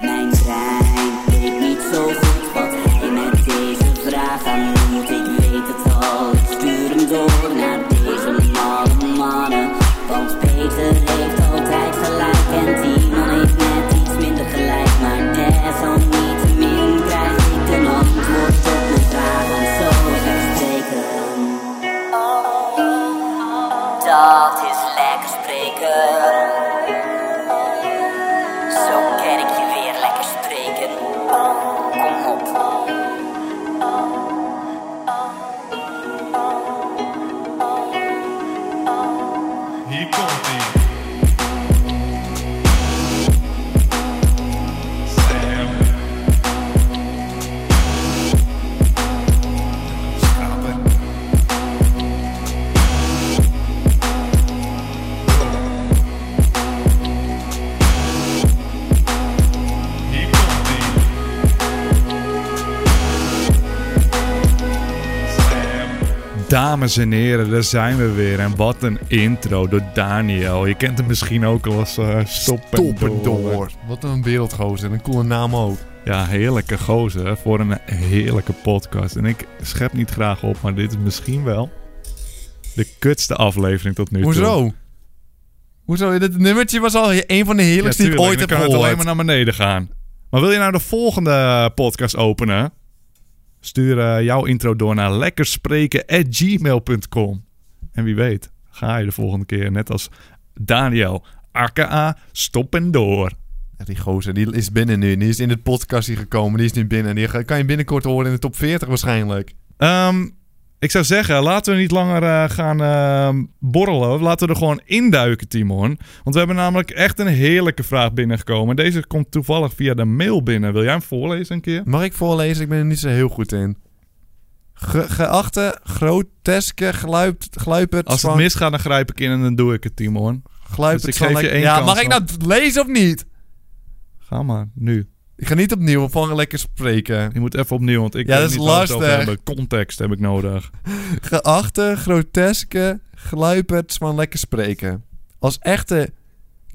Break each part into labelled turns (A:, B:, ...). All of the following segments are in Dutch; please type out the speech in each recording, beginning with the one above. A: Mijn brein weet niet zo goed wat hij met deze vraag aan moet. Ik weet het al, ik stuur hem door naar deze malle mannen. Want Peter heeft altijd gelijk en die man heeft net iets minder gelijk. Maar desalniettemin krijg ik een antwoord op mijn vraag. Want zo is het zeker. Oh, Dat is lekker spreken. Zo ken ik je weer lekker spreken. Oh, Kom op.
B: Hier komt ie. Sam. Schapen. Hier komt ie. Sam.
C: Dames en heren, daar zijn we weer. En wat een intro door Daniel. Je kent hem misschien ook al als eh Stoppendoor.
D: Toppendoor. Wat een wereldgozer en een coole naam ook.
C: Ja, heerlijke gozer hè, voor een heerlijke podcast. En ik schep niet graag op, maar dit is misschien wel de kutste aflevering tot nu toe.
D: Hoezo? Hoezo? Dit nummertje was al een van de
C: Ja,
D: heerlijkste
C: tuurlijk,
D: die ik ooit
C: dan kan het
D: heb
C: alleen maar
D: gehoord.
C: naar beneden gaan. Maar wil je nou de volgende podcast openen? Stuur eh, jouw intro door naar lekkerspreken.gmail.com. En wie weet, ga je de volgende keer net als Daniel, aka Stop en Door.
D: Ja, Die gozer, die is binnen nu. Die is in de podcast hier gekomen. Die is nu binnen. Die ga- kan je binnenkort horen in de top 40 waarschijnlijk.
C: Ehm, ik zou zeggen, laten we niet langer eh, gaan ehm, borrelen. Laten we er gewoon induiken, Timon. Want we hebben namelijk echt een heerlijke vraag binnengekomen. Deze komt toevallig via de mail binnen. Wil jij hem voorlezen een keer?
D: Mag ik voorlezen? Ik ben er niet zo heel goed in. Ge- geachte, groteske, gluip, gluipert...
C: Als het
D: van-
C: misgaat, dan grijp ik in en dan doe ik het, Timon.
D: gluipert
C: dus ik
D: van
C: geef je
D: lekker-
C: één
D: Ja,
C: kans,
D: mag ik nou lezen of niet?
C: Ga maar, nu.
D: Ik ga niet opnieuw van lekker spreken.
C: Je moet even opnieuw, want ik
D: Ja,
C: weet
D: dat is
C: niet waar we het over
D: lastig.
C: hebben. Context heb ik nodig.
D: Geachte, groteske gluiperts van Lekker Spreken. Als echte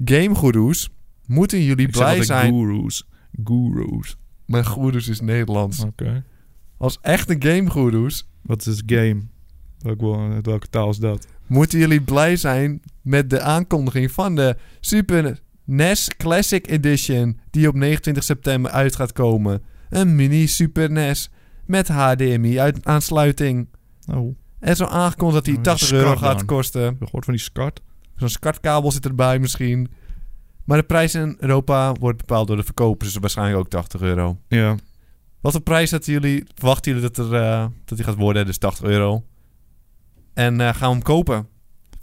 D: gamegoeroes moeten jullie
C: Ik zeg
D: blij
C: altijd
D: zijn...
C: gurus. Gurus.
D: Mijn goeroes is Nederlands.
C: Oké.
D: Mm. Als echte gamegoeroes
C: Wat is game? Welk, wo- welke taal is dat?
D: moeten jullie blij zijn met de aankondiging van de Super NES Classic Edition... die op 29 september uit gaat komen. Een mini Super NES met HDMI-aansluiting.
C: Oh, ik
D: Er is al aangekondigd dat die
C: Oh,
D: 80
C: scar
D: euro gaat
C: dan.
D: kosten.
C: heb gehoord van die SCART.
D: Zo'n SCART-kabel zit erbij misschien. Maar de prijs in Europa wordt bepaald door de verkopers, dus waarschijnlijk ook 80 euro.
C: Ja.
D: Wat voor prijs dat jullie, verwachten jullie dat, er, eh, dat die gaat worden? Dus 80 euro. En eh, gaan we hem kopen?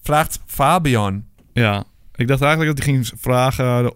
D: Vraagt Fabian.
C: Ja. Ik dacht eigenlijk dat hij ging vragen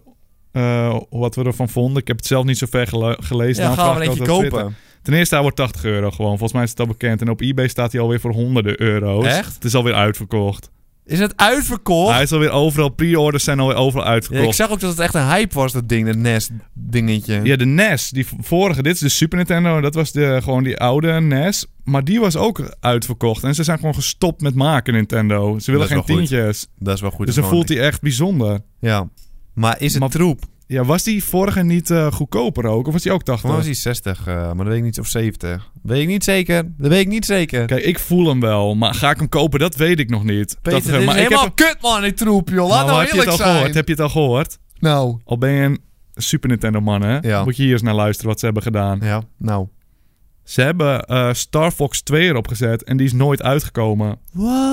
C: eh, wat we ervan vonden. Ik heb het zelf niet zo ver gele- gelezen.
D: Ja,
C: Daarom
D: gaan we
C: vraag ik
D: er eentje
C: altijd op
D: kopen.
C: Twitter. Ten eerste, hij wordt 80 euro gewoon. Volgens mij is het al bekend. En op eBay staat hij alweer voor honderden euro's.
D: Echt?
C: Het is alweer uitverkocht.
D: Is het uitverkocht?
C: Hij is alweer overal. Pre-orders zijn alweer overal
D: Ja,
C: uitverkocht.
D: ik zag ook dat het echt een hype was, dat E ding, dat Nest-dingetje.
C: Ja, de NES. Die v- vorige, dit is de Super Nintendo. Dat was de, gewoon die oude NES. Maar die was ook uitverkocht. En ze zijn gewoon gestopt met maken, Nintendo. Ze willen
D: Dat
C: geen
D: is wel goed.
C: tientjes.
D: Dat is wel goed.
C: dus dan
D: gewoon-
C: voelt hij echt bijzonder.
D: Ja. Maar is het
C: Maar-
D: troep?
C: Ja, was die vorige niet eh, goedkoper ook? Of was die ook 80?
D: Voor mij was hij 60, eh, maar dat weet ik niet. Of 70. Weet ik niet zeker. Dat weet ik niet zeker.
C: Kijk, ik voel hem wel. Maar ga ik hem kopen? Dat weet ik nog niet.
D: Peter,
C: dat,
D: dit is
C: maar ik heb
D: helemaal
C: hem-
D: kut, man, die troep, joh.
C: maar
D: Laat nou
C: heb je het
D: eerlijk
C: al
D: zijn.
C: gehoord? Heb je het al gehoord?
D: Nou.
C: Al ben je een Super Nintendo man, hè?
D: Ja.
C: Moet je hier eens naar luisteren wat ze hebben gedaan.
D: Ja, nou.
C: Ze hebben eh, Star Fox 2 erop gezet en die is nooit uitgekomen.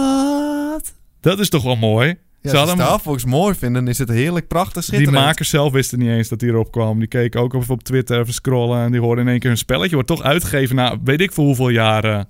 D: Wat?
C: Dat is toch wel mooi? Ze
D: Ja, als
C: hadden
D: je
C: hem-
D: Star Fox mooi vinden, dan is het heerlijk, prachtig,
C: Die
D: schitterend.
C: makers zelf wisten niet eens dat die erop kwam. Die keken ook even op Twitter even scrollen. En die hoorden in één keer hun spelletje. Wordt toch uitgegeven na weet ik voor hoeveel jaren.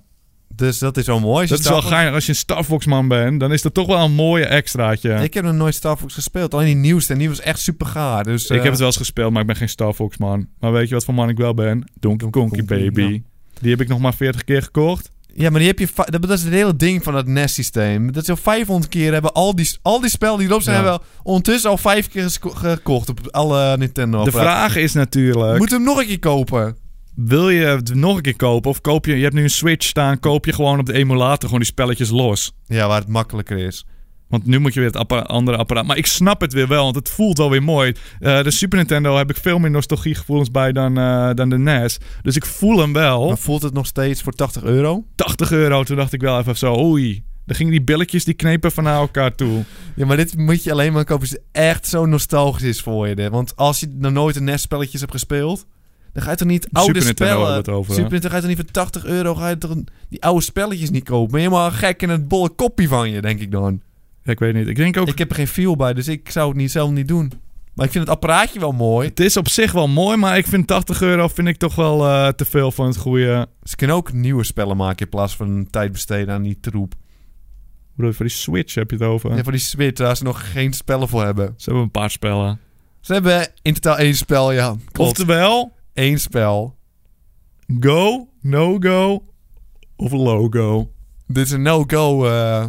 D: Dus dat is wel mooi. als je
C: Dat is wel
D: Star Fox-
C: geinig. Als je een Star Fox man bent, dan is dat toch wel een mooie extraatje. Ik,
D: Ik heb nog nooit Star Fox gespeeld. Alleen die nieuwste. En die was echt super gaar. Dus, eh,
C: heb het wel eens gespeeld, maar ik ben geen Star Fox man. Maar weet je wat voor man ik wel ben? Donkey Konky
D: Konky,
C: Baby.
D: ja.
C: Die heb ik nog maar 40 keer gekocht.
D: Ja, maar die heb je... va- Dat, dat is het hele ding van dat NES-systeem. Dat is al 500 keer hebben al die, al die spellen die erop zijn...
C: Ja.
D: hebben we ondertussen al vijf keer gesco- gekocht op alle Nintendo
C: De vraag is natuurlijk...
D: Moeten we hem nog een keer kopen?
C: Wil je het nog een keer kopen of koop je... Je hebt nu een Switch staan, koop je gewoon op de emulator gewoon die spelletjes los.
D: Ja, waar het makkelijker is.
C: Want nu moet je weer het appa- andere apparaat. Maar ik snap het weer wel, want het voelt wel weer mooi. Eh, de Super Nintendo heb ik veel meer nostalgiegevoelens bij dan, eh, dan de NES. Dus ik voel hem wel.
D: Maar voelt het nog steeds voor 80 euro?
C: 80 euro, toen dacht ik wel even zo, oei. Dan gingen die billetjes, die knepen van naar elkaar toe.
D: Ja, maar dit moet je alleen maar kopen als het echt zo nostalgisch is voor je. hè. Want als je nog nooit een NES-spelletjes hebt gespeeld... Dan ga je toch niet oude
C: Nintendo
D: spellen...
C: hebben we het over, hè?
D: Super Nintendo ga je toch niet voor 80 euro... Ga je toch die oude spelletjes niet kopen? Ben je helemaal gek in het bolle kopje van je, denk ik dan.
C: Ja, ik weet niet. Ik denk ook,
D: Ik heb er geen feel bij, dus ik zou het niet, zelf niet doen. Maar ik vind het apparaatje wel mooi.
C: het is op zich wel mooi, maar ik vind 80 euro vind ik toch wel eh, te veel van het goede.
D: Ze kunnen ook nieuwe spellen maken in plaats van tijd besteden aan die troep.
C: Hoe voor die Switch heb je het over?
D: En voor die Switch, daar ze nog geen spellen voor hebben.
C: Ze hebben een paar spellen.
D: Ze hebben in totaal één spel, ja. Klopt.
C: Oftewel,
D: Eén spel.
C: go, no go of logo.
D: Dit is een no-go. eh,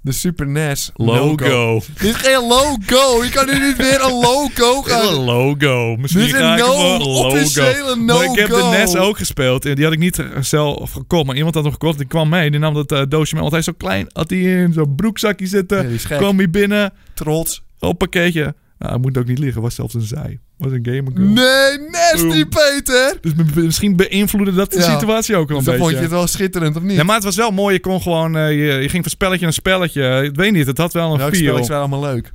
D: de Super NES. no-go.
C: Logo.
D: Dit is geen logo. Je kan nu niet weer een logo
C: Dit is
D: gaan.
C: een logo. Misschien
D: Dit is een
C: ga ik
D: no-
C: hem wel
D: officiële
C: logo. Maar ik heb de
D: no-go.
C: NES ook gespeeld. En die had ik niet zelf gekocht. Maar iemand had hem gekocht. Die kwam mee. Die nam dat eh, doosje mee. Want hij is zo klein. Had hij in zo'n broekzakje
D: Ja,
C: zitten.
D: die is gek.
C: kwam hij binnen.
D: Trots.
C: Hoppakeetje. Nou, hij moet ook niet liggen. Was zelfs een zij. Was een gamer girl.
D: Nee, nasty
C: Boom.
D: Peter.
C: Dus be- misschien beïnvloedde dat de
D: Ja.
C: situatie ook wel
D: Dus
C: een beetje.
D: dan vond je het wel schitterend, of niet?
C: Ja, maar het was wel mooi. Je kon gewoon... eh, je, je ging van spelletje naar spelletje. Ik weet niet. Het had wel een
D: Welke
C: feel.
D: spelletjes waren allemaal leuk?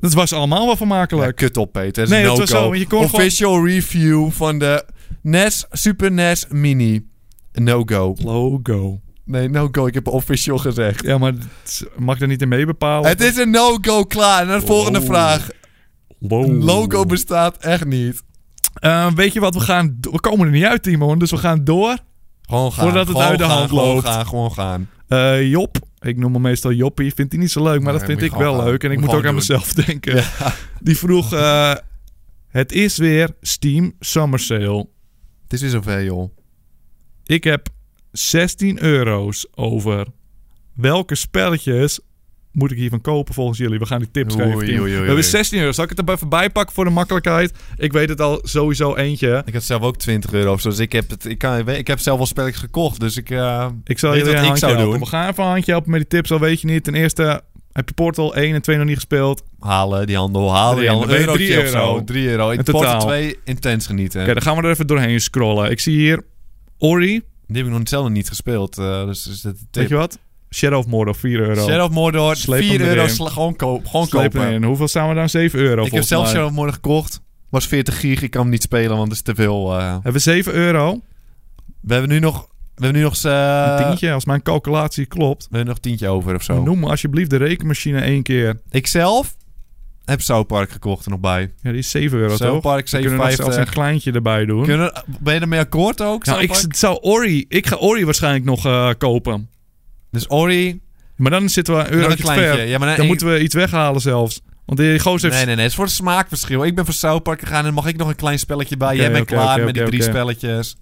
C: Het was allemaal wel
D: Ja,
C: vermakelijk.
D: kut op, Peter. Dat is
C: Nee,
D: een
C: dat was
D: no-go.
C: zo, want je kon gewoon-
D: Official review van de NES, Super NES Mini. No-go.
C: Logo.
D: Nee, no-go. Ik heb official gezegd.
C: Ja, maar het- mag ik er niet in mee bepalen?
D: Het is een no-go, klaar. Naar de volgende
C: Oh.
D: vraag. Een logo bestaat echt niet.
C: Eh, weet je wat, we, gaan do- we komen er niet uit, Timon. Dus we gaan door.
D: Gewoon gaan.
C: Voordat het
D: gewoon
C: uit de
D: gaan,
C: hand
D: gewoon
C: loopt.
D: Gaan, gewoon gaan.
C: Eh, Job. Ik noem hem meestal Joppie. Vindt hij niet zo leuk, maar
D: Nee,
C: dat vind
D: moet
C: ik
D: je gewoon
C: wel
D: gaan.
C: leuk. En ik
D: Moet
C: moet ook aan
D: gewoon
C: mezelf denken. Die vroeg... eh, het is weer Steam Summer Sale.
D: Het is weer zover, joh.
C: Ik heb 16 euro's over. Welke spelletjes moet ik hiervan kopen volgens jullie? We gaan die tips
D: Oei,
C: geven. Tim.
D: oei, oei,
C: We hebben
D: oei.
C: 16 euro. Zal ik het er even bij pakken voor de makkelijkheid? Ik weet het al sowieso eentje.
D: Ik had zelf ook 20 euro of zo. Dus ik heb, het, ik kan, ik heb zelf al spelletjes gekocht. Dus ik, eh,
C: Ik zal
D: weet
C: jullie
D: wat
C: een
D: ik
C: handje
D: zou
C: helpen.
D: doen.
C: We gaan even een handje helpen met die tips, al weet je niet. Ten eerste heb je Portal 1 en 2 nog niet gespeeld. Oké,
D: Halen, die handel, halen.
C: Drie,
D: Die
C: dan
D: handel,
C: ben je
D: Eurotje
C: drie
D: of zo.
C: euro.
D: 3 euro. In
C: In
D: totaal.
C: totaal.
D: 2 intens genieten.
C: dan gaan we er even doorheen scrollen. Ik zie hier Ori,
D: Die heb ik nog zelf niet gespeeld. eh, dus is dat een tip.
C: weet je wat? Shadow of Mordor, 4 euro.
D: Shadow of Mordor,
C: Sleep
D: 4
C: hem
D: euro.
C: erin.
D: sla- gewoon koop, gewoon
C: Sleep
D: kopen.
C: erin. Hoeveel staan we dan? 7 euro
D: Ik heb
C: volgens
D: zelf
C: mij.
D: Shadow of Mordor gekocht. Was 40 gig, ik kan hem niet spelen, want het is te veel. eh.
C: Hebben we 7 euro?
D: We hebben nu nog... We hebben nu nog... eh,
C: Een tientje, als mijn calculatie klopt.
D: We hebben nog tientje over of zo.
C: Noem me alsjeblieft de rekenmachine één keer.
D: Ik zelf heb South Park gekocht er nog bij.
C: Ja, die is 7 euro,
D: South
C: toch?
D: Park
C: We kunnen nog zelfs
D: 7,50.
C: een kleintje erbij doen.
D: Kunnen, ben je ermee akkoord ook?
C: nou,
D: South
C: ik
D: Park?
C: zou Ori... Ik ga Ori waarschijnlijk nog eh, kopen.
D: Dus Ori...
C: Maar dan zitten we een
D: Nog een
C: eurotje
D: kleintje.
C: ver.
D: Ja, maar dan
C: Dan
D: één-
C: moeten we iets weghalen zelfs. Want die gozer
D: Nee,
C: heeft
D: nee, nee. Het is voor het smaakverschil. Ik ben voor South Park gegaan en mag ik nog een klein spelletje bij.
C: Oké,
D: Jij bent
C: oké,
D: klaar
C: oké,
D: met die
C: oké,
D: drie
C: oké.
D: spelletjes.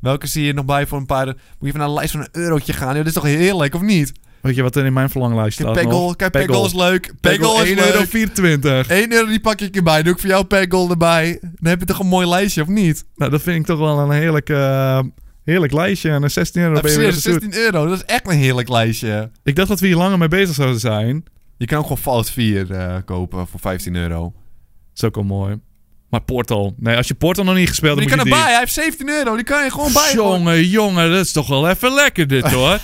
D: Welke zie je nog bij voor een paar... Moet je even naar een lijst van een eurotje gaan? Joh, dit is toch heerlijk, of niet?
C: Weet je wat er in mijn verlanglijst staat
D: Peggle,
C: nog?
D: kijk, Peggle is leuk. Peggle is
C: 1,24 euro.
D: leuk. 1 euro die pak ik erbij. Doe ik voor jou Peggle erbij. Dan heb je toch een mooi lijstje, of niet?
C: Nou, dat vind ik toch wel een heerlijk, eh, heerlijk lijstje. En een 16 euro
D: Ja,
C: ben je weer
D: serieus,
C: zo zoet.
D: 16 euro. Dat is echt een heerlijk lijstje.
C: Ik dacht dat we hier langer mee bezig zouden zijn.
D: Je kan ook gewoon Fallout 4 eh, kopen voor 15 euro.
C: Dat is ook al mooi. Maar Portal. Nee, als je Portal nog niet gespeeld
D: Die
C: hebt,
D: kan
C: moet je die...
D: erbij. Hij heeft 17 euro. Die kan je gewoon bij. gooien.
C: Jongen, jongen, dat is toch wel even lekker dit hoor.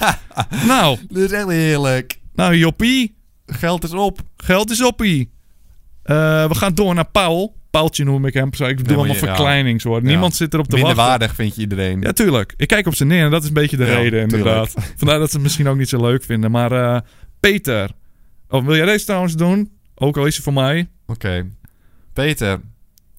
C: nou,
D: Dit is echt heerlijk.
C: nou joppie,
D: Geld is op.
C: geld is oppie. Eh, we gaan door naar Paul. Paaltje noem ik hem. Sorry, Ik doe
D: maar
C: allemaal
D: je- ja.
C: verkleinings hoor. Niemand zit erop te
D: Minder
C: wachten.
D: waardig vind je iedereen.
C: Ja, tuurlijk. Ik kijk op ze neer en dat is een beetje de
D: Ja,
C: reden inderdaad. Vandaar dat ze het misschien ook niet zo leuk vinden. Maar eh, Peter, oh, wil jij deze trouwens doen? Ook al is ze voor mij.
D: Oké. Peter,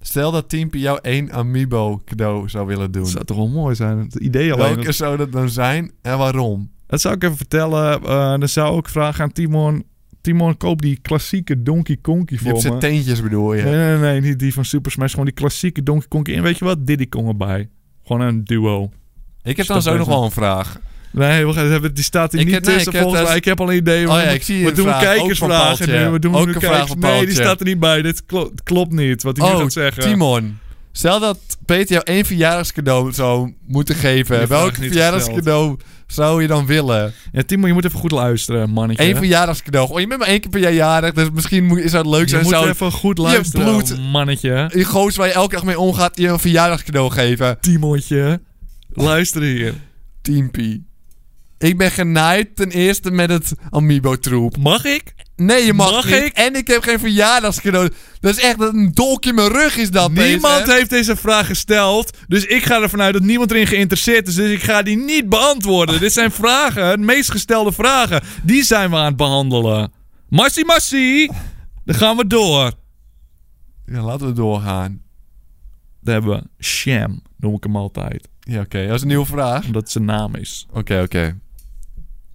D: stel dat Teampi jou één Amiibo cadeau zou willen doen.
C: Dat zou toch wel mooi zijn. Het idee alleen.
D: Welke zou dat dan zijn en waarom?
C: Dat zou ik even vertellen. Eh, dan zou ik vragen aan Timon. Timon, koop die klassieke Donkey Konkie
D: Je hebt
C: voor me.
D: zijn teentjes bedoel je.
C: Nee, nee, nee, niet die van Super Smash. Gewoon die klassieke Donkey Kong. En weet je wat? Diddy Kong erbij. Gewoon een duo.
D: Ik heb dan zo
C: Stop
D: nog
C: even.
D: wel een vraag.
C: Nee, we gaan, hebben- die staat hier
D: Ik
C: niet
D: heb- nee,
C: tussen
D: ik heb
C: volgens mij.
D: thuis-
C: Ik heb al een idee.
D: Oh ja,
C: we-
D: ik zie hier
C: we
D: een
C: doen
D: vraag. Ook van
C: kijkersvragen
D: Paaltje.
C: nu. We doen
D: Ook
C: nu
D: een vraag
C: kijkers.
D: van
C: Nee, die
D: Paaltje.
C: staat er niet bij. Dit klo- klopt niet, wat hij nu
D: Oh,
C: gaat zeggen.
D: Timon. Stel dat Peter jou één verjaardagscadeau zou moeten geven.
C: Die vraag
D: Welk
C: is niet
D: verjaardagscadeau zou je dan willen?
C: Ja, Timo, je moet even goed luisteren, mannetje.
D: Eén verjaardagscadeau. Oh, je bent maar één keer per jaar jarig, dus misschien moet- is dat leuk.
C: je
D: zijn.
C: moet
D: zou
C: even goed
D: je
C: luisteren,
D: bloed-
C: mannetje.
D: die goos waar je elke dag mee omgaat, je een verjaardagscadeau geven.
C: Timootje, luister hier.
D: Tienpie. Ik ben genaaid ten eerste met het Amiibo-troep.
C: Mag ik?
D: Nee, je mag,
C: Mag
D: niet.
C: ik?
D: En ik heb geen verjaardagscadeau. Dat is echt een dolk in mijn rug is dat,
C: Niemand
D: Peter.
C: heeft deze vraag gesteld. Dus ik ga ervan uit dat niemand erin geïnteresseerd is. Dus ik ga die niet beantwoorden. Dit zijn vragen, de meest gestelde vragen. Die zijn we aan het behandelen. Massie, massie. Dan gaan we door.
D: Ja, laten we doorgaan.
C: Dan hebben we Sham, noem ik hem altijd.
D: Ja, oké. Dat is een nieuwe vraag.
C: Omdat het zijn naam is.
D: Oké, oké.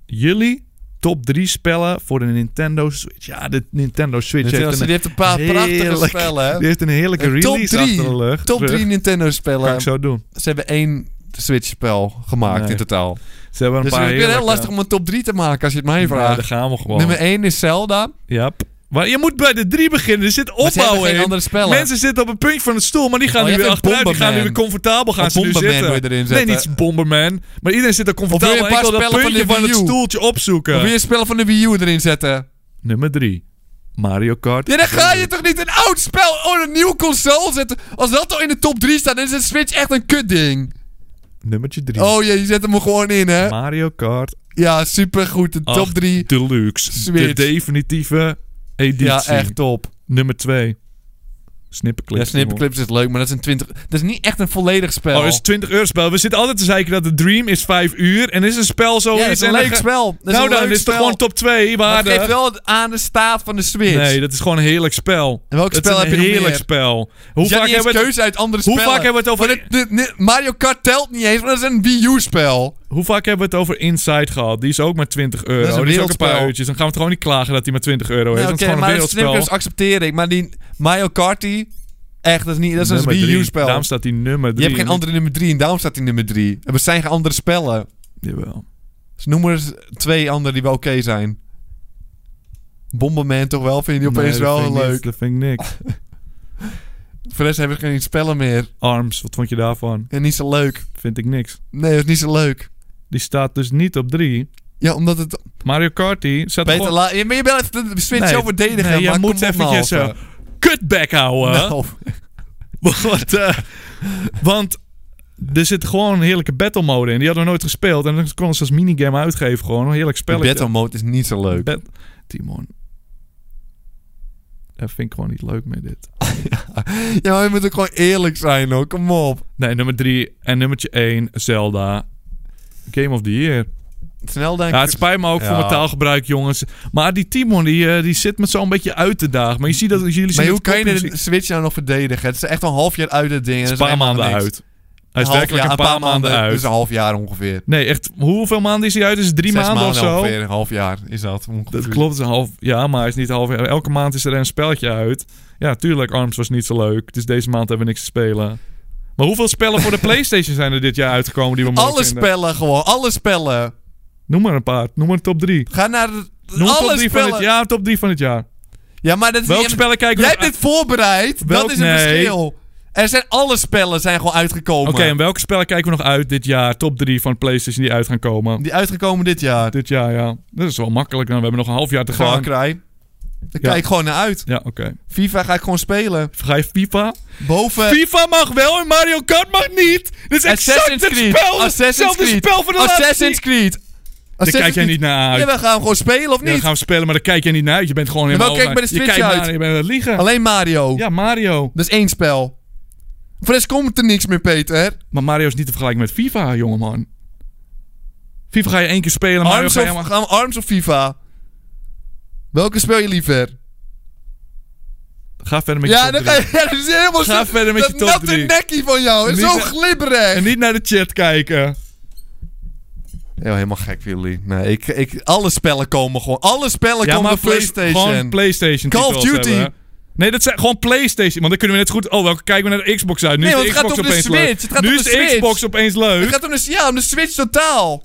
C: Jullie top 3 spellen voor de Nintendo Switch. Ja, de Nintendo Switch
D: Nintendo
C: heeft
D: Switch
C: een
D: heeft een paar prachtige
C: heerlijk-
D: spellen, hè?
C: Die heeft een heerlijke
D: Een top
C: release
D: drie.
C: achter de lucht.
D: Top
C: Terug.
D: 3
C: Kan
D: Nintendo-spellen.
C: ik zo doen.
D: Ze hebben één Switch-spel gemaakt
C: Nee.
D: in totaal.
C: Ze hebben een
D: Dus
C: paar
D: het is weer
C: heerlijke-
D: heel lastig om een top 3 te maken als je het mij
C: Nee,
D: vraagt.
C: daar gaan we gewoon.
D: Nummer 1 is Zelda.
C: Ja. p- Maar je moet bij de drie beginnen. Er zit
D: ze hebben
C: opbouw
D: geen
C: in.
D: andere spellen.
C: Mensen zitten op een puntje van het stoel, maar die gaan
D: Oh,
C: nu
D: je
C: weer
D: hebt een
C: achteruit. Die gaan nu weer
D: Bomberman.
C: comfortabel gaan
D: Of
C: ze nu
D: Bomberman
C: zitten.
D: wil je erin
C: nee,
D: zetten.
C: niet Bomberman. Maar iedereen zit er comfortabel.
D: Of wil
C: in.
D: je
C: Ik
D: een
C: wil
D: paar
C: dat
D: spellen van
C: puntje
D: de
C: van het
D: Wii U?
C: stoeltje
D: Wil
C: opzoeken.
D: je spellen van de Wii U erin zetten?
C: Nummer drie. Mario Kart.
D: Ja, dan ga je toch niet een oud spel of een nieuwe console zetten? Als dat al in de top 3 staat, dan is een Switch echt een kutding.
C: Nummertje drie.
D: Oh jee, je zet hem er gewoon in, hè?
C: Mario Kart.
D: Ja, supergoed. De top
C: acht
D: 3.
C: Deluxe. De
D: Switch.
C: definitieve editie.
D: Ja, echt top.
C: Nummer twee.
D: Ja,
C: Snipperclips.
D: Snipperclips is leuk, maar dat is een 20... Dat is niet echt een volledig spel.
C: Oh, dat is 20 euro spel. We zitten altijd te zeiken dat de Dream is 5 uur. En oh, is een spel zo.
D: ja, dat is een leuk spel. Dat is
C: nou
D: een
C: dan,
D: leuk
C: is het
D: spel.
C: gewoon top 2
D: Maar het
C: waarde.
D: geeft wel het aan de staat van de Switch.
C: Nee, dat is gewoon een heerlijk spel.
D: En welk
C: dat
D: spel
C: is een
D: heb je nog
C: heerlijk
D: meer?
C: spel. Hoe
D: Dus je
C: vaak
D: hebt
C: hebben
D: niet eens
C: we het-
D: keuze uit andere
C: hoe
D: spellen.
C: vaak hebben we het over-
D: Want dit- dit- dit- Mario Kart telt niet eens, want dat is een Wii U-spel.
C: hoe vaak hebben we het over Inside gehad? Die is ook maar 20 euro.
D: Dat is een
C: Die is ook een paar
D: wereldspel.
C: uurtjes. Dan gaan we het gewoon niet klagen dat die maar 20 euro is.
D: Nou,
C: want het is
D: oké,
C: gewoon
D: maar
C: een
D: dat
C: wereldspel.
D: Snickers accepteer ik. Maar die Mario Kart, die... Echt, dat is, niet, dat is een
C: Nummer
D: Wii
C: drie.
D: U-spel.
C: Daarom staat die nummer 3.
D: Je hebt geen andere nummer 3 en daarom staat die nummer 3. Er zijn geen andere spellen.
C: Jawel.
D: Dus noem maar eens twee andere die wel oké zijn. Bomberman toch wel, vind je die opeens
C: Nee, dat
D: wel
C: vind ik
D: leuk.
C: niks, dat vind ik niks.
D: Voor de rest hebben we geen spellen meer.
C: Arms, wat vond je daarvan?
D: En niet zo leuk.
C: Vind ik niks.
D: Nee, dat is niet zo leuk.
C: Die staat dus niet op 3.
D: Ja, omdat het...
C: Mario Kart die staat
D: Peter,
C: gewoon-
D: la, ja, maar je bent even de Switch zo verdedigen.
C: nee,
D: maar
C: je
D: kom
C: moet
D: op,
C: eventjes eh,
D: Malte.
C: zo kutbek houden.
D: Nou,
C: Want, eh, want er zit gewoon een heerlijke battle mode in. Die hadden we nooit gespeeld. En dan konden ze als minigame uitgeven. Gewoon een heerlijk
D: de
C: spelletje.
D: battle mode is niet zo leuk.
C: Bat- Timon. Dat vind ik gewoon niet leuk met dit.
D: Ja, maar je moet ook gewoon eerlijk zijn hoor. Kom op.
C: Nee, nummer 3 en nummertje 1, Zelda. Game of the Year.
D: Snel denk
C: Ja,
D: ik.
C: het spijt me ook voor
D: Ja.
C: mijn taalgebruik, jongens. Maar die Timon, die, eh, die zit me zo'n beetje uit te dagen. Maar je ziet dat jullie zien
D: maar
C: dat
D: hoe kan je
C: kopjes-
D: de Switch nou nog verdedigen? Het is echt al een half jaar uit het ding. en
C: Het
D: dat
C: is een paar
D: helemaal
C: maanden
D: niks.
C: uit. Hij is
D: half
C: werkelijk
D: jaar-
C: een paar maanden
D: Dus een
C: uit.
D: half jaar ongeveer.
C: Nee, echt. Hoeveel maanden is hij uit? Is het drie
D: Zes
C: maanden of zo?
D: ongeveer, een half jaar is dat ongeveer.
C: Dat klopt, een half, ja, maar hij is niet half jaar. Elke maand is er een spelletje uit. Ja, tuurlijk, ARMS was niet zo leuk. Dus deze maand hebben we niks te spelen. Maar hoeveel spellen voor de PlayStation zijn er dit jaar uitgekomen die we mooi
D: Alle
C: vinden?
D: spellen gewoon, alle spellen.
C: Noem maar een paar. Noem maar een top drie.
D: Ga naar de,
C: Noem top
D: alle
C: drie van
D: spellen.
C: het jaar, top drie van het jaar.
D: Ja, maar dat is
C: Welke
D: niet-
C: spellen kijken we
D: Jij
C: nog
D: hebt dit voorbereid.
C: Welk-
D: dat is een
C: nee.
D: verschil. Er zijn alle spellen zijn gewoon uitgekomen.
C: Oké, en welke spellen kijken we nog uit dit jaar? Top drie van PlayStation die uit gaan komen.
D: Die uitgekomen dit jaar.
C: Dit jaar, ja. Dat is wel makkelijk dan. We hebben nog een half jaar te gaan.
D: Gewoon krijg. Daar
C: Ja.
D: kijk ik gewoon naar uit.
C: Ja, oké.
D: FIFA ga ik gewoon spelen.
C: Ga je FIFA?
D: Boven.
C: FIFA mag wel en Mario Kart mag niet. Dit is exact
D: Eh. Assassin's
C: het
D: Creed.
C: spel.
D: Assassin's
C: Hetzelfde
D: Creed.
C: spel van de laatste
D: Assassin's Creed.
C: Daar
D: Assassin's
C: kijk jij
D: Creed.
C: niet naar uit.
D: Ja, we gaan hem gewoon spelen of
C: Ja, dan
D: niet?
C: gaan we spelen, maar daar kijk jij niet naar uit. Je bent gewoon helemaal...
D: welke kijk ik bij de
C: je
D: Switch
C: kijkt
D: uit?
C: naar- je bent aan het liegen.
D: Alleen Mario.
C: Ja, Mario.
D: Dat is één spel. Voor de rest komt er niks meer, Peter.
C: Maar Mario is niet te vergelijken met FIFA, jongeman. FIFA ga je één keer spelen, Mario
D: Arms
C: ga
D: of,
C: je helemaal...
D: gaan we Arms of FIFA? Welke speel je liever?
C: Ga verder met
D: Ja,
C: je top
D: dan ga
C: drie.
D: je, ja, dat is helemaal
C: Ga
D: zo-
C: verder met
D: dat
C: je top
D: natte
C: drie.
D: nekkie van jou. is
C: Niet
D: zo
C: na-
D: glibberig.
C: En niet naar de chat kijken.
D: Ja, helemaal gek voor jullie. Nee, ik, ik, alle spellen komen gewoon. Alle
C: Ja,
D: spellen komen
C: maar
D: op PlayStation.
C: Gewoon PlayStation
D: Call of
C: titels
D: Duty.
C: hebben. Nee, dat zijn gewoon PlayStation. Want dan kunnen we net zo goed... Oh, welke kijken we naar de Xbox uit? Nu
D: Nee,
C: is de
D: want het gaat
C: Xbox
D: om de
C: opeens leuk.
D: Switch. Het gaat
C: nu
D: om
C: is
D: de
C: de
D: Switch.
C: Xbox opeens leuk.
D: Het gaat om de, ja, om de Switch totaal.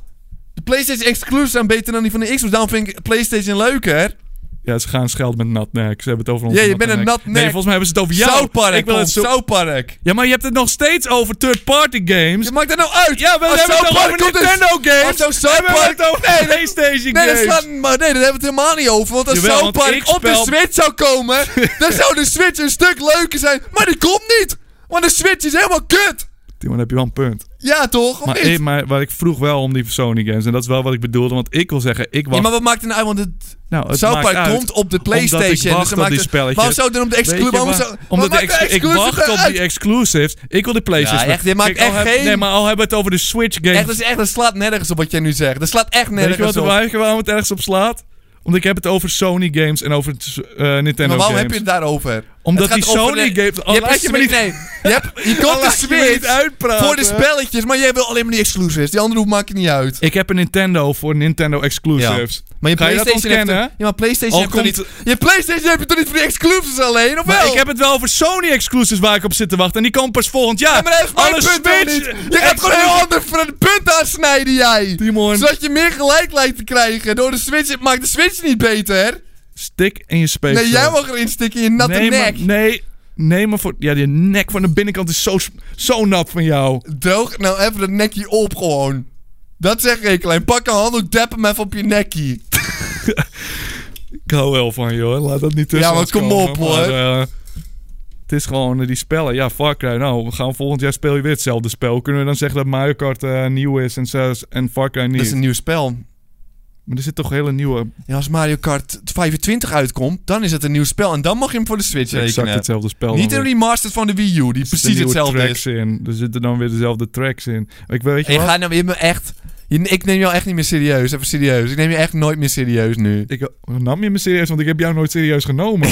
D: De PlayStation exclusives zijn beter dan die van de Xbox. Daarom vind ik PlayStation leuker.
C: Ja, ze gaan schelden met natnek. Ze hebben het over ons.
D: Ja, je bent een natnek.
C: Nee, volgens mij hebben ze het over jou.
D: Zoutpark,
C: Ik wil het zo...
D: Zoutpark.
C: Ja, maar je hebt het nog steeds over third-party games.
D: Je maakt dat nou uit.
C: Dus Ja, we
D: Als
C: hebben het
D: South
C: nog over
D: Park komt dus-
C: Nintendo games.
D: Als nou
C: We
D: South
C: hebben
D: Park-
C: het over
D: Nee, dat-
C: PlayStation
D: Nee, dat
C: games.
D: slaat, maar nee, daar hebben we het helemaal niet over. Want als
C: Jawel,
D: South
C: want
D: Park
C: ik
D: op de
C: spel-
D: Switch zou komen, dan zou de Switch een stuk leuker zijn. Maar die komt niet. Want de Switch is helemaal kut.
C: Timon, heb je wel een punt.
D: Ja, toch? Of
C: Maar,
D: niet?
C: eh, maar waar ik vroeg wel om die Sony games. En dat is wel wat ik bedoelde. Want ik wil zeggen, ik wacht...
D: Ja, maar wat maakt het nou uit? Want het,
C: nou, het
D: South
C: maakt
D: Park
C: uit.
D: komt op de
C: Omdat ik
D: PlayStation.
C: wacht
D: dus dan
C: op
D: maakt
C: die
D: het-
C: spelletjes.
D: Waarom zou het dan op de
C: Weet
D: exclusive...
C: je
D: Waarom
C: waar-
D: zou,
C: Omdat
D: waarom
C: de
D: maakt
C: ex- ik
D: exclusive
C: wacht op
D: eruit?
C: die exclusives. Ik wil de PlayStation.
D: Ja, echt, dit maakt
C: Kijk, al
D: echt
C: heb-
D: geen-
C: Nee, maar al hebben we het over de Switch games.
D: Echt, dat, is echt, dat slaat nergens op wat jij nu zegt. Dat slaat echt
C: Weet je
D: nergens
C: wat
D: op.
C: de waar- waarom het ergens op slaat? Omdat ik heb het over Sony games en over het, eh, Nintendo
D: Maar waarom
C: games.
D: heb je het daarover?
C: Omdat
D: Het gaat
C: die
D: over
C: Sony
D: de-
C: games-
D: Je,
C: Oh, laat
D: hebt
C: je
D: je,
C: me
D: niet...
C: niet- Oh,
D: nee. je, hebt, je komt de
C: laat je me niet
D: Switch
C: uitpraten.
D: voor de spelletjes, maar jij wil alleen maar die exclusives. Die andere hoek maakt je niet uit.
C: Ik heb een Nintendo voor Nintendo exclusives.
D: Maar je
C: Ga je dat
D: PlayStation heeft
C: ontkennen?
D: toch- Ja, maar PlayStation
C: Al
D: heb je toch
C: komt-
D: niet... Je PlayStation heb je toch niet voor die exclusives alleen, of
C: Maar
D: wel?
C: ik heb het wel over Sony exclusives waar ik op zit te wachten. En die komen pas volgend jaar.
D: Ja, maar dat is mijn
C: Alle
D: punt ook
C: Switch-
D: niet. Je gaat gewoon een heel ander van het punt aansnijden, jij.
C: Timon.
D: Zodat je meer gelijk lijkt te krijgen. Door de Switch het maakt de Switch niet beter.
C: Stik in je space.
D: Nee, jij mag erin stikken in je natte
C: nee,
D: nek.
C: Maar, nee, nee, maar voor... Ja, die nek van de binnenkant is zo, zo nat van jou.
D: Droog nou even dat nekje op gewoon. Dat zeg ik klein. Pak een handdoek, dap hem even op je nekkie.
C: Ik hou wel van je hoor. Laat dat niet tussen
D: Ja, maar
C: ons
D: kom
C: komen,
D: op,
C: maar,
D: hoor.
C: eh, het is gewoon eh, die spellen. Ja, Far Cry. Nou, we gaan volgend jaar speel je weer hetzelfde spel. Kunnen we dan zeggen dat Mario Kart eh, nieuw is en, zelfs- en Far Cry niet?
D: Dat is een nieuw spel.
C: Maar er zit toch hele nieuwe...
D: En als Mario Kart 25 uitkomt, dan is het een nieuw spel. En dan mag je hem voor de Switch
C: Exact
D: rekenen.
C: hetzelfde spel.
D: Niet
C: dan
D: een
C: weer.
D: remastered van de Wii U, die
C: Er zitten
D: precies
C: nieuwe
D: hetzelfde
C: tracks
D: is.
C: in. Er zitten dan weer dezelfde tracks in. Ik weet je
D: Ik,
C: wat?
D: ga nou, je me echt, je- ik neem jou echt niet meer serieus. Even serieus. Ik neem je echt nooit meer serieus nu.
C: Ik nam je me serieus, want ik heb jou nooit serieus genomen.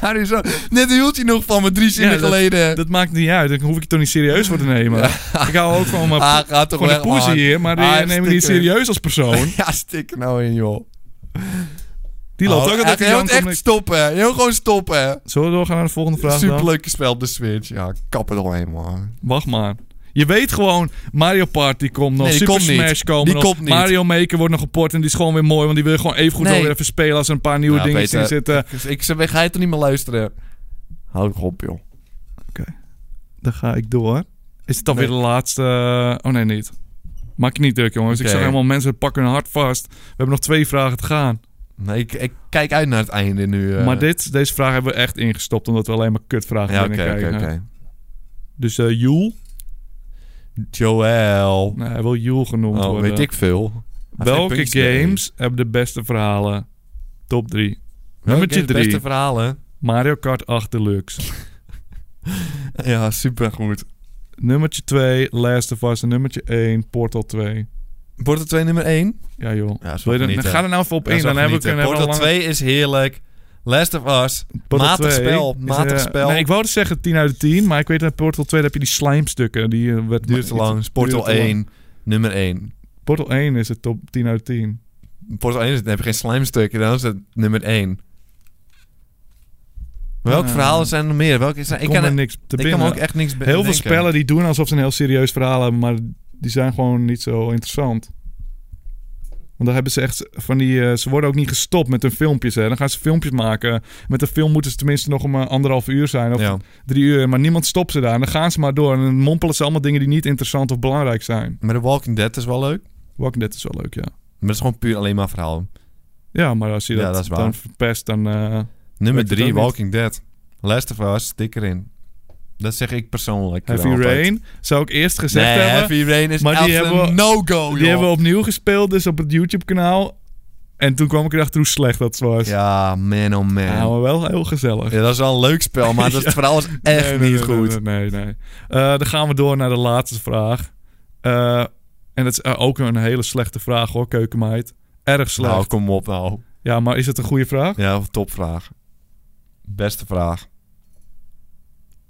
D: Ja, nu zo- Net hield je nog van me drie zinnen
C: Ja,
D: geleden.
C: dat maakt niet uit. Dan hoef ik je toch niet serieus voor te nemen. Ik hou ook van mijn
D: ah, gaat toch
C: van de
D: weg,
C: poesie
D: man.
C: hier, maar die
D: Ah,
C: eh, nemen we niet
D: stikker.
C: serieus als persoon.
D: Ja, stik er nou in, joh.
C: Die loopt
D: Oh,
C: ook altijd
D: echt,
C: te
D: Je moet
C: janken.
D: echt
C: omdat ik-
D: stoppen. Je moet gewoon stoppen.
C: Zullen we doorgaan naar de volgende vraag dan?
D: Superleuke spel op de Switch. Ja, kap het al helemaal.
C: Wacht maar. Je weet gewoon, Mario Party komt nog,
D: Nee, die
C: Super
D: komt niet.
C: Smash komen
D: Die
C: nog,
D: komt niet.
C: Mario Maker wordt nog geport en die is gewoon weer mooi, want die wil je gewoon even goed
D: Nee.
C: wel weer even spelen als er een paar nieuwe
D: Ja,
C: dingen
D: Peter.
C: in zitten.
D: Dus ik zeg, ga je toch niet meer luisteren? Hou toch op, joh.
C: Dan ga ik door. Is het alweer
D: Nee.
C: de laatste? Oh nee, niet. Maak je niet druk jongens, ik
D: Oké.
C: zag helemaal mensen pakken hun hart vast. We hebben nog twee vragen te gaan.
D: Nee, ik, ik kijk uit naar het einde nu. eh.
C: Maar dit, deze vraag hebben we echt ingestopt, omdat we alleen maar kutvragen
D: Ja, oké,
C: binnenkrijgen.
D: oké,
C: kijken.
D: oké.
C: Dus eh Joel,
D: Joel.
C: nee, hij wil Joel genoemd
D: Oh,
C: Nou, worden.
D: weet ik veel. Hij
C: Welke
D: heeft geen puntjes
C: games hebben de beste verhalen? Top 3. Nummertje
D: Welke
C: drie.
D: beste verhalen.
C: Mario Kart 8 Deluxe.
D: Ja, supergoed.
C: Nummertje 2, Last of Us. En nummertje 1, Portal 2.
D: Portal 2 nummer 1?
C: Ja joh.
D: Ja, is
C: Wil je dan,
D: genieten.
C: ga er nou even op
D: Ja,
C: in.
D: is wel
C: Dan hebben we
D: genieten.
C: kunnen hebben we
D: Portal
C: al lang-
D: 2 is heerlijk. Last of Us.
C: Portal
D: matig
C: 2
D: spel,
C: is,
D: matig
C: eh,
D: spel.
C: Nee, ik wou dus zeggen 10 uit de 10. Maar ik weet dat Portal 2 daar heb je die slijmstukken. Die eh, werd
D: Duurt te
C: maar-
D: lang.
C: iets-
D: Portal
C: duurde te lang.
D: 1. Nummer 1.
C: Portal 1 is het top 10 uit de 10.
D: Portal 1 is, dan heb je geen slijmstukken. Dan is het nummer 1. Welke
C: Eh,
D: verhalen zijn er nog meer? Welke zijn, ik
C: Kom
D: kan,
C: er
D: er-
C: niks te
D: ik kan
C: binnen.
D: me ook echt niks
C: Heel veel
D: bedenken.
C: spellen die doen alsof ze een heel serieus verhaal hebben, maar die zijn gewoon niet zo interessant. Want dan hebben ze echt van die. eh, ze worden ook niet gestopt met hun filmpjes. Hè. Dan gaan ze filmpjes maken. Met een film moeten ze tenminste nog om eh, anderhalf uur zijn of
D: Ja.
C: drie uur. Maar niemand stopt ze daar. En dan gaan ze maar door. En dan mompelen ze allemaal dingen die niet interessant of belangrijk zijn.
D: Maar The Walking Dead is wel leuk.
C: Walking Dead is wel leuk, ja.
D: Maar dat is gewoon puur alleen maar verhaal.
C: Ja, maar als je
D: Ja,
C: dat,
D: dat is waar.
C: dan verpest, dan. eh,
D: Nummer
C: Weet het
D: 3,
C: ook niet.
D: Walking Dead. Last of Us, stik erin. Dat zeg ik persoonlijk.
C: Heavy
D: wel altijd.
C: Rain zou ik eerst gezegd
D: nee,
C: hebben.
D: Heavy Rain is
C: Maar die
D: absoluut
C: hebben we-
D: no-go,
C: die
D: joh.
C: hebben we opnieuw gespeeld, dus op het YouTube-kanaal. En toen kwam ik erachter hoe slecht dat was.
D: Ja, man oh man.
C: Ja, maar wel heel gezellig.
D: Ja, dat is wel een leuk spel, maar dat,
C: Nou, Ja.
D: het verhaal is echt
C: Nee, nee,
D: niet
C: nee,
D: goed.
C: Nee, nee, nee. Eh, dan gaan we door naar de laatste vraag. Eh, en dat is eh, ook een hele slechte vraag hoor, keukenmeid. Erg slecht.
D: Nou, kom op nou.
C: Ja, maar is het een goede vraag?
D: Ja, topvraag. Beste vraag.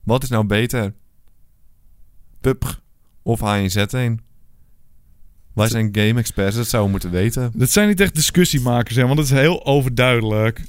D: Wat is nou beter? Pub of HNZ1? Wij zijn game experts, dat zouden we moeten weten.
C: Dat zijn niet echt discussiemakers, hè, want dat is heel overduidelijk.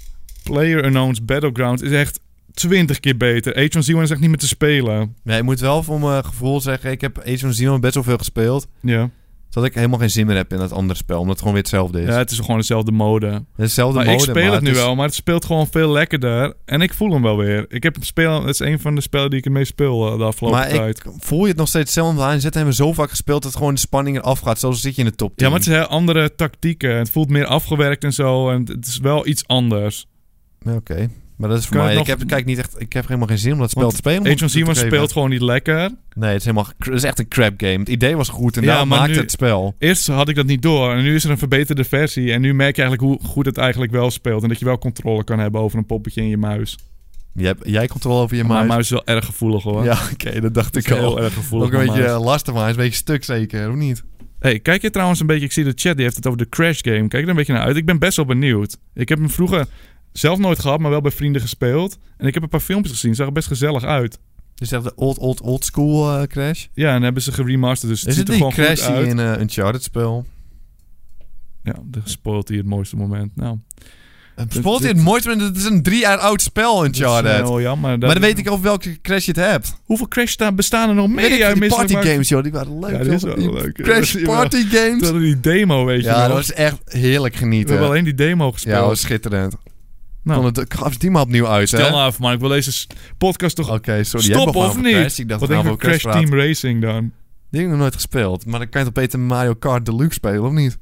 C: Player Unknown's Battleground is echt twintig keer beter. Age of Zero is echt niet meer te spelen.
D: Nee, ik moet wel voor mijn gevoel zeggen, ik heb Age of Zero best wel veel gespeeld.
C: Ja.
D: Dat ik helemaal geen zin meer heb in dat andere spel. Omdat het gewoon weer hetzelfde is.
C: Ja, het is gewoon dezelfde mode.
D: hetzelfde
C: Maar ik
D: mode,
C: speel
D: maar
C: het nu
D: is-
C: wel, maar het speelt gewoon veel lekkerder. En ik voel hem wel weer. Ik heb het spelen, het is een van de spellen die ik ermee speel eh, de afgelopen
D: Maar
C: tijd.
D: ik voel je het nog steeds hetzelfde aan. Zet hebben we zo vaak gespeeld dat gewoon de spanning eraf gaat. Zelfs zit je in de top 10.
C: Ja, maar het is heel andere tactieken. Het voelt meer afgewerkt en zo. En het is wel iets anders.
D: Ja, Oké. Maar dat is voor
C: Kunnen
D: mij...
C: we
D: Ik
C: nog-
D: heb, kijk, niet echt, ik heb helemaal geen zin om dat spel
C: Want
D: te spelen. om
C: Age of
D: het toe te
C: Sigmar
D: geven.
C: speelt gewoon niet lekker.
D: Nee, het is, helemaal, het is echt een crap game. Het idee was goed en
C: Ja,
D: daarom
C: maar
D: maakte
C: nu-
D: het spel.
C: Eerst had ik dat niet door. En nu is er een verbeterde versie. En nu merk je eigenlijk hoe goed het eigenlijk wel speelt. En dat je wel controle kan hebben over een poppetje in je muis.
D: Jij, hebt- jij komt er wel over je
C: Maar
D: muis.
C: mijn muis is wel erg gevoelig hoor.
D: Ja, oké, dat dacht
C: Het
D: ik
C: is heel
D: al.
C: erg
D: Ook
C: gevoelig.
D: een
C: mijn
D: beetje
C: muis.
D: eh, lastig, maar hij is een beetje stuk zeker, of niet?
C: Hey, kijk je trouwens een beetje, ik zie de chat, die heeft het over de Crash Game. Kijk er een beetje naar uit. Ik ben best wel benieuwd. Ik heb hem vroeger zelf nooit gehad, maar wel bij vrienden gespeeld. En ik heb een paar filmpjes gezien, zag er best gezellig uit.
D: Dus echt de old, old, old school eh, Crash.
C: Ja, en hebben ze geremasterd, dus het
D: Is
C: ziet
D: het
C: er
D: die
C: gewoon goed
D: Crash die
C: uit.
D: in eh, Uncharted spel?
C: Ja, dan spoilt hij het mooiste moment. Nou,
D: Eh, Spoilt hij
C: dit-
D: het mooiste, maar het is een drie jaar oud spel,
C: dat is eh,
D: Uncharted.
C: heel jammer.
D: maar dan weet ik over welke Crash je het hebt.
C: Hoeveel Crash sta- bestaan er nog meer?
D: Weet ik,
C: jij
D: van die
C: misselijk
D: party
C: maakt-
D: games, joh, die waren leuk.
C: Ja, die
D: joh.
C: is wel
D: Die
C: leuk.
D: Crash
C: Ja,
D: party
C: Toen
D: games.
C: hadden we die demo, weet je
D: Ja,
C: wel.
D: dat was echt heerlijk
C: We
D: genieten.
C: hebben alleen die demo gespeeld.
D: Ja, dat was schitterend.
C: nou,
D: Kon het, ik gaf het team opnieuw uit,
C: stel
D: hè?
C: nou even, man. Ik wil deze s- podcast toch...
D: Oké, sorry. jij
C: Stop
D: begon
C: of
D: over
C: niet?
D: Crash. Ik dacht
C: Wat
D: we
C: denk
D: gaan
C: je van
D: over Crash
C: Crash
D: praten.
C: Team Racing dan?
D: Die heb ik nog nooit gespeeld. Maar dan kan je toch beter Mario Kart Deluxe spelen, of niet?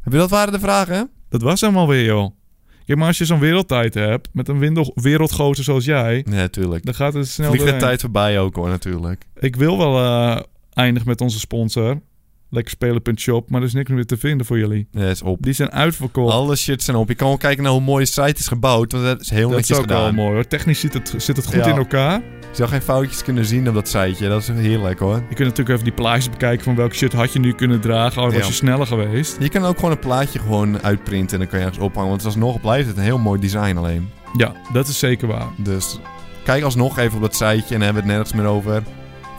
D: Heb je dat waren de vragen, hè?
C: Dat was hem alweer, joh. Kijk, maar als je zo'n wereldtijd hebt, met een windel- wereldgozer zoals jij,
D: Nee, tuurlijk.
C: dan gaat het snel
D: Vliegt de
C: doorheen.
D: tijd voorbij ook, hoor, natuurlijk.
C: Ik wil wel eh, eindigen met onze sponsor, lekkerspelen.shop, maar er is niks meer te vinden voor jullie.
D: Nee, is op.
C: Die zijn uitverkocht.
D: Alle shit zijn op. Je kan wel kijken naar hoe mooi de site is gebouwd, want dat is heel
C: dat is
D: netjes
C: ook wel
D: gedaan.
C: mooi hoor. Technisch zit het, zit het goed
D: Ja.
C: in elkaar.
D: Je zou geen foutjes kunnen zien op dat siteje. Dat is heerlijk, hoor.
C: Je kunt natuurlijk even die plaatjes bekijken van welke shit had je nu kunnen dragen. Oh, was
D: Ja.
C: je sneller geweest?
D: Je kan ook gewoon een plaatje gewoon uitprinten en dan kan je ergens ophangen. Want alsnog blijft het een heel mooi design alleen.
C: Ja, dat is zeker waar.
D: Dus kijk alsnog even op dat siteje en dan hebben we het nergens meer over.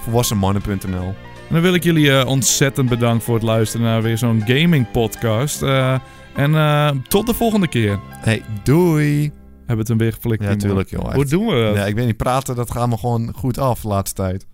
D: Volwassenmannen.nl
C: En dan wil ik jullie eh, ontzettend bedanken voor het luisteren naar weer zo'n gaming podcast. Eh, en eh, tot de volgende keer.
D: Hey, doei!
C: Hebben we het hem weer geflikt?
D: Ja,
C: Timo?
D: tuurlijk joh.
C: Hoe
D: Echt.
C: doen we dat?
D: Ja, ik weet niet, praten dat gaat me gewoon goed af de laatste tijd.